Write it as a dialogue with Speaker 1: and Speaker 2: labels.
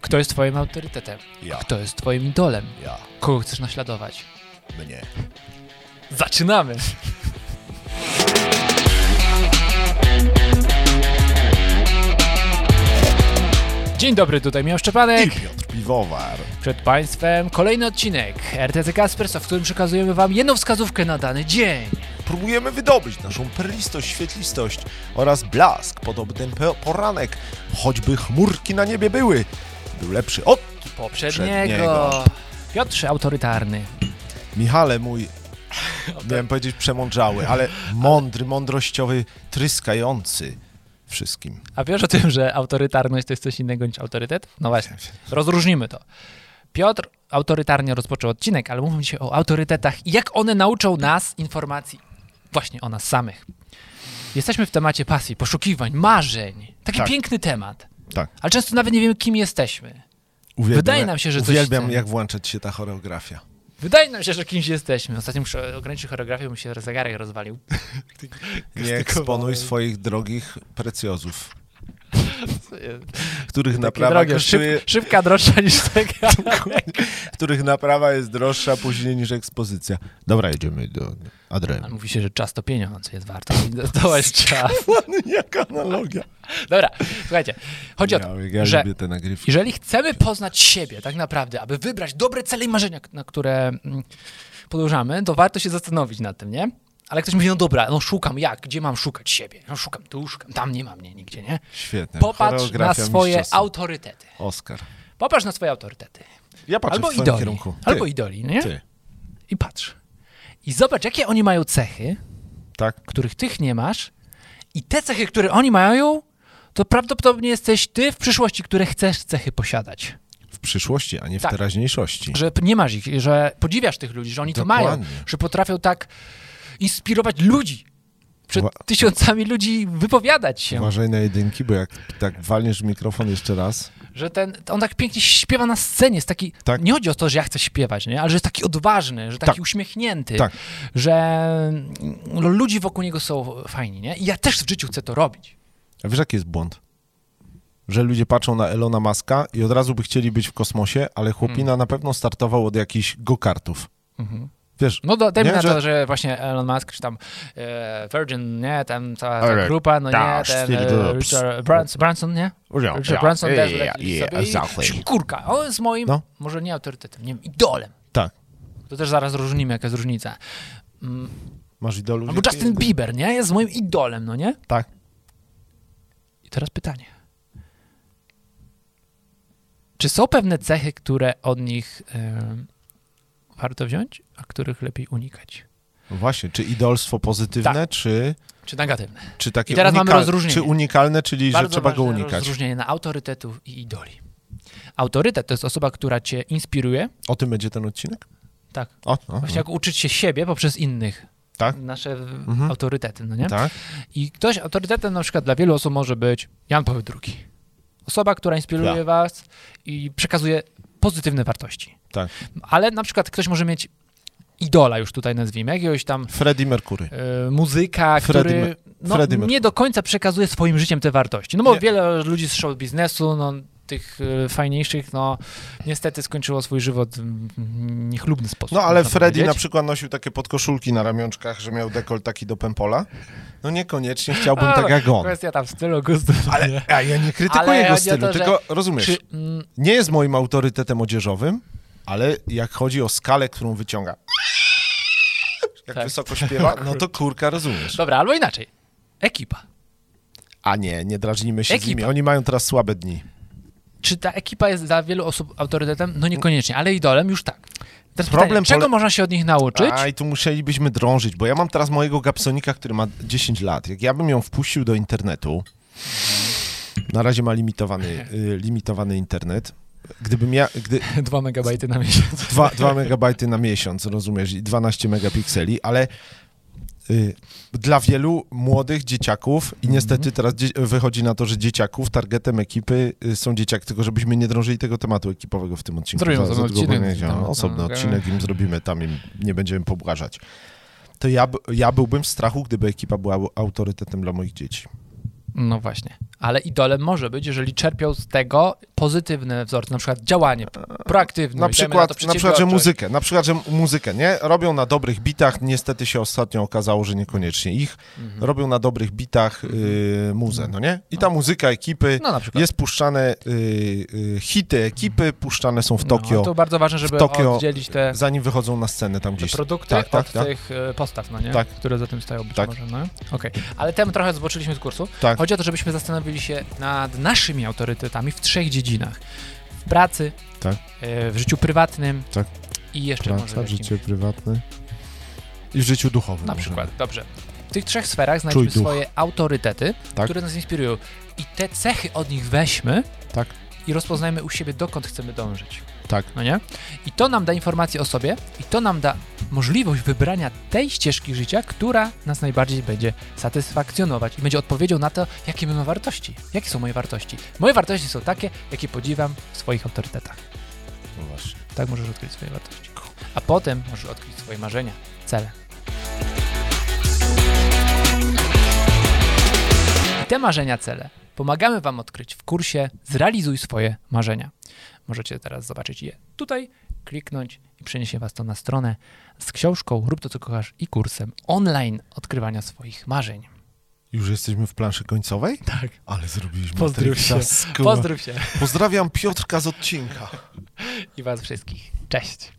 Speaker 1: Kto jest twoim autorytetem?
Speaker 2: Ja.
Speaker 1: Kto jest twoim idolem?
Speaker 2: Ja.
Speaker 1: Kogo chcesz naśladować?
Speaker 2: Mnie.
Speaker 1: Zaczynamy! Dzień dobry, tutaj miał
Speaker 2: I
Speaker 1: Szczepanek.
Speaker 2: Piotr Piwowar.
Speaker 1: Przed Państwem kolejny odcinek RTC Kaspersa, w którym przekazujemy Wam jedną wskazówkę na dany dzień.
Speaker 2: Próbujemy wydobyć naszą perlistość, świetlistość oraz blask. Podobny po- poranek, choćby chmurki na niebie były, był lepszy od...
Speaker 1: Poprzedniego.
Speaker 2: Przedniego.
Speaker 1: Piotrze autorytarny.
Speaker 2: Michale mój, miałem powiedzieć przemądrzały, ale mądry, mądrościowy, tryskający wszystkim.
Speaker 1: A wiesz o tym, że autorytarność to jest coś innego niż autorytet? No właśnie, rozróżnimy to. Piotr autorytarnie rozpoczął odcinek, ale mówimy dzisiaj o autorytetach i jak one nauczą nas informacji właśnie o nas samych. Jesteśmy w temacie pasji, poszukiwań, marzeń. Taki
Speaker 2: Tak.
Speaker 1: piękny temat.
Speaker 2: Tak.
Speaker 1: Ale często nawet nie wiemy, kim jesteśmy.
Speaker 2: Uwielbiam,
Speaker 1: Wydaje nam się, że coś
Speaker 2: Uwielbiam,
Speaker 1: chcemy.
Speaker 2: jak włączać się ta choreografia.
Speaker 1: Wydaje nam się, że kimś jesteśmy. Ostatnio muszę ograniczyć choreografię, bo mi się zegarek rozwalił.
Speaker 2: Nie eksponuj swoich drogich precjozów, których
Speaker 1: Takie
Speaker 2: naprawa
Speaker 1: drogie,
Speaker 2: kosztuje...
Speaker 1: szyb, szybka droższa niż zegarek.
Speaker 2: których naprawa jest droższa później niż ekspozycja. Dobra, jedziemy do
Speaker 1: Ale
Speaker 2: Adrenu.
Speaker 1: mówi się, że czas to pieniądz, jest warto. Zdołać czas.
Speaker 2: Jaka analogia.
Speaker 1: Dobra, słuchajcie. Chodzi o to,
Speaker 2: Ja, ja
Speaker 1: że
Speaker 2: lubię te nagrywki.
Speaker 1: jeżeli chcemy poznać siebie tak naprawdę, aby wybrać dobre cele i marzenia, na które mm, podążamy, to warto się zastanowić nad tym, nie? Ale ktoś mówi, no dobra, no szukam jak, gdzie mam szukać siebie? No szukam tu, szukam tam, nie ma mnie nigdzie, nie?
Speaker 2: Świetne.
Speaker 1: Popatrz na
Speaker 2: Tak, Choreografia
Speaker 1: swoje
Speaker 2: mistrzostwa.
Speaker 1: autorytety.
Speaker 2: Oscar.
Speaker 1: Popatrz na swoje autorytety.
Speaker 2: Ja patrzę
Speaker 1: Albo
Speaker 2: w twoim
Speaker 1: idoli.
Speaker 2: kierunku.
Speaker 1: Albo
Speaker 2: ty,
Speaker 1: idoli, no nie?
Speaker 2: ty.
Speaker 1: I patrz. I zobacz, jakie oni mają cechy,
Speaker 2: Tak?
Speaker 1: których tych nie masz, i te cechy, które oni mają, to prawdopodobnie jesteś ty w przyszłości, które chcesz cechy posiadać.
Speaker 2: W przyszłości, a nie w
Speaker 1: Tak.
Speaker 2: teraźniejszości.
Speaker 1: Że p- nie masz ich, że podziwiasz tych ludzi, że oni to mają,
Speaker 2: Dokładnie.
Speaker 1: że potrafią tak inspirować ludzi. Przed
Speaker 2: Wła-
Speaker 1: tysiącami ludzi wypowiadać się,
Speaker 2: Uważaj na jedynki, bo jak tak walniesz w mikrofon jeszcze raz,
Speaker 1: że ten, on tak pięknie śpiewa na scenie, jest taki,
Speaker 2: Tak.
Speaker 1: nie chodzi o to, że ja chcę śpiewać, nie? ale że jest taki odważny, że taki
Speaker 2: Tak.
Speaker 1: uśmiechnięty,
Speaker 2: Tak.
Speaker 1: że mm, ludzie wokół niego są fajni, nie? I ja też w życiu chcę to robić.
Speaker 2: a wiesz jaki jest błąd? Że ludzie patrzą na Elona Muska i od razu by chcieli być w kosmosie, ale chłopina
Speaker 1: Hmm.
Speaker 2: na pewno startował od jakichś go-kartów. Wiesz,
Speaker 1: No do, dajmy
Speaker 2: Nie,
Speaker 1: na to,
Speaker 2: że-
Speaker 1: że właśnie Elon Musk, czy tam e, Virgin, nie, tam cała ta
Speaker 2: Ale
Speaker 1: grupa, no nie,
Speaker 2: dasz,
Speaker 1: ten
Speaker 2: Steve
Speaker 1: e,
Speaker 2: Jobs.
Speaker 1: Richard Branson, Branson nie?
Speaker 2: Ja,
Speaker 1: Richard
Speaker 2: ja,
Speaker 1: Branson
Speaker 2: ja,
Speaker 1: też
Speaker 2: ja,
Speaker 1: leci
Speaker 2: ja,
Speaker 1: sobie i-
Speaker 2: exactly.
Speaker 1: Kurka, on jest moim,
Speaker 2: No.
Speaker 1: może nie autorytetem, nie wiem, idolem.
Speaker 2: tak,
Speaker 1: To też zaraz rozróżnimy, jaka jest różnica. Mm,
Speaker 2: masz idolu.
Speaker 1: albo
Speaker 2: wielkiej
Speaker 1: Justin
Speaker 2: idoli.
Speaker 1: Bieber, nie? Jest moim idolem, no nie?
Speaker 2: Tak.
Speaker 1: I teraz pytanie. Czy są pewne cechy, które od nich em, warto wziąć, a których lepiej unikać?
Speaker 2: No właśnie, czy idolstwo pozytywne, czy,
Speaker 1: Czy negatywne?
Speaker 2: czy takie
Speaker 1: Tak. I teraz mamy
Speaker 2: unikal-
Speaker 1: rozróżnienie.
Speaker 2: czy unikalne, czyli
Speaker 1: Bardzo
Speaker 2: że trzeba go
Speaker 1: ważne
Speaker 2: unikać.
Speaker 1: rozróżnienie na autorytetów i idoli. Autorytet to jest osoba, która cię inspiruje.
Speaker 2: O tym będzie ten odcinek?
Speaker 1: Tak.
Speaker 2: O, no, o, o.
Speaker 1: Właśnie jak uczyć się siebie poprzez innych.
Speaker 2: Mhm. Tak.
Speaker 1: Nasze w- autorytety, no nie?
Speaker 2: Tak?
Speaker 1: I ktoś autorytetem na przykład dla wielu osób może być Jan Paweł II. Osoba, która inspiruje
Speaker 2: Tak.
Speaker 1: was i przekazuje pozytywne wartości.
Speaker 2: Tak.
Speaker 1: Ale na przykład ktoś może mieć idola już tutaj nazwijmy, jakiegoś tam
Speaker 2: Freddie Mercury.
Speaker 1: e, muzyka,
Speaker 2: Freddie
Speaker 1: który
Speaker 2: Mer-
Speaker 1: no,
Speaker 2: Freddie Mercury.
Speaker 1: nie do końca przekazuje swoim życiem te wartości. No bo
Speaker 2: Nie.
Speaker 1: wiele ludzi z show biznesu, no, tych e, fajniejszych, no niestety skończyło swój żywot w mm, niechlubny sposób.
Speaker 2: No ale
Speaker 1: można
Speaker 2: Freddie na
Speaker 1: powiedzieć.
Speaker 2: przykład nosił takie podkoszulki na ramionczkach, że miał dekol taki do pempola. No niekoniecznie chciałbym
Speaker 1: A,
Speaker 2: tak jak on.
Speaker 1: Kwestia tam stylu, gustu.
Speaker 2: Ale a ja nie krytykuję
Speaker 1: Ale
Speaker 2: jego
Speaker 1: chodzi o
Speaker 2: stylu,
Speaker 1: to, że-
Speaker 2: tylko rozumiesz,
Speaker 1: Czy, mm,
Speaker 2: nie jest moim autorytetem odzieżowym, ale jak chodzi o skalę, którą wyciąga, jak
Speaker 1: Tak.
Speaker 2: wysoko śpiewa, no to kurka, rozumiesz.
Speaker 1: dobra, albo inaczej. Ekipa.
Speaker 2: A nie, nie drażnimy się z
Speaker 1: Ekipa.
Speaker 2: nimi. Oni mają teraz słabe dni.
Speaker 1: Czy ta ekipa jest dla wielu osób autorytetem? No niekoniecznie, ale idolem już tak. Teraz
Speaker 2: Problem
Speaker 1: pytanie, czego
Speaker 2: pole-
Speaker 1: można się od nich nauczyć?
Speaker 2: A i tu musielibyśmy drążyć, bo ja mam teraz mojego Gapsonika, który ma 10 lat. Jak ja bym ją wpuścił do internetu, na razie ma limitowany, y, limitowany internet. Gdybym ja, gdy,
Speaker 1: Dwa megabajty na miesiąc.
Speaker 2: 2, 2 megabajty na miesiąc, rozumiesz, i 12 megapikseli, ale y, dla wielu młodych dzieciaków
Speaker 1: Mhm.
Speaker 2: i niestety teraz dzie- wychodzi na to, że dzieciaków, targetem ekipy y, są dzieciaki, tylko żebyśmy nie drążyli tego tematu ekipowego w tym odcinku.
Speaker 1: Zrobimy
Speaker 2: Za-
Speaker 1: osobny
Speaker 2: za długo
Speaker 1: odcinek
Speaker 2: będzie-
Speaker 1: na ten temat,
Speaker 2: Osobny
Speaker 1: no,
Speaker 2: odcinek im zrobimy, tam im nie będziemy pobłażać. To ja, b- ja byłbym w strachu, gdyby ekipa była autorytetem dla moich dzieci.
Speaker 1: No właśnie. ale idolem może być, jeżeli czerpią z tego pozytywne wzorce, na przykład działanie proaktywne.
Speaker 2: Na przykład, na, przykład, że muzykę, na przykład, że muzykę, nie? Robią na dobrych bitach, niestety się ostatnio okazało, że niekoniecznie ich.
Speaker 1: Mhm.
Speaker 2: Robią na dobrych bitach y, muzę, no nie? I ta muzyka ekipy,
Speaker 1: No na przykład.
Speaker 2: jest puszczane y, y, hity ekipy, puszczane są w Tokio,
Speaker 1: No, to bardzo ważne, żeby
Speaker 2: w Tokio
Speaker 1: oddzielić te,
Speaker 2: zanim wychodzą na scenę tam
Speaker 1: te
Speaker 2: gdzieś.
Speaker 1: produkty
Speaker 2: Tak, tak,
Speaker 1: od
Speaker 2: tak.
Speaker 1: tych e, postaw, no nie?
Speaker 2: Tak.
Speaker 1: które za tym stoją być
Speaker 2: Tak.
Speaker 1: może. No? Okej. Ale temu trochę zboczyliśmy z kursu.
Speaker 2: Tak.
Speaker 1: Chodzi o to, żebyśmy zastanowili się nad naszymi autorytetami w trzech dziedzinach. W pracy,
Speaker 2: Tak.
Speaker 1: e, w życiu prywatnym
Speaker 2: Tak.
Speaker 1: i jeszcze może w
Speaker 2: Praca,
Speaker 1: jakimś-
Speaker 2: życie prywatne i w życiu duchowym.
Speaker 1: Na
Speaker 2: może.
Speaker 1: przykład, dobrze. W tych trzech sferach znajdźmy
Speaker 2: duch.
Speaker 1: swoje autorytety,
Speaker 2: Tak.
Speaker 1: które nas inspirują. I te cechy od nich weźmy
Speaker 2: Tak.
Speaker 1: i rozpoznajmy u siebie, dokąd chcemy dążyć.
Speaker 2: Tak.
Speaker 1: No nie? I to nam da informacje o sobie i to nam da możliwość wybrania tej ścieżki życia, która nas najbardziej będzie satysfakcjonować i będzie odpowiedzią na to, jakie my mamy wartości. Jakie są moje wartości? Moje wartości są takie, jakie podziwiam w swoich autorytetach.
Speaker 2: No właśnie.
Speaker 1: Tak możesz odkryć swoje wartości. A potem możesz odkryć swoje marzenia, cele. I te marzenia, cele pomagamy Wam odkryć w kursie Zrealizuj swoje marzenia. Możecie teraz zobaczyć je tutaj, kliknąć i przeniesie Was to na stronę z książką Rób to, co kochasz i kursem online odkrywania swoich marzeń.
Speaker 2: Już jesteśmy w planszy końcowej?
Speaker 1: Tak.
Speaker 2: Ale zrobiliśmy
Speaker 1: Pozdrów
Speaker 2: Matrixa,
Speaker 1: się.
Speaker 2: skurwa.
Speaker 1: Pozdrów się
Speaker 2: Pozdrawiam Piotrka z odcinka.
Speaker 1: i Was wszystkich. Cześć.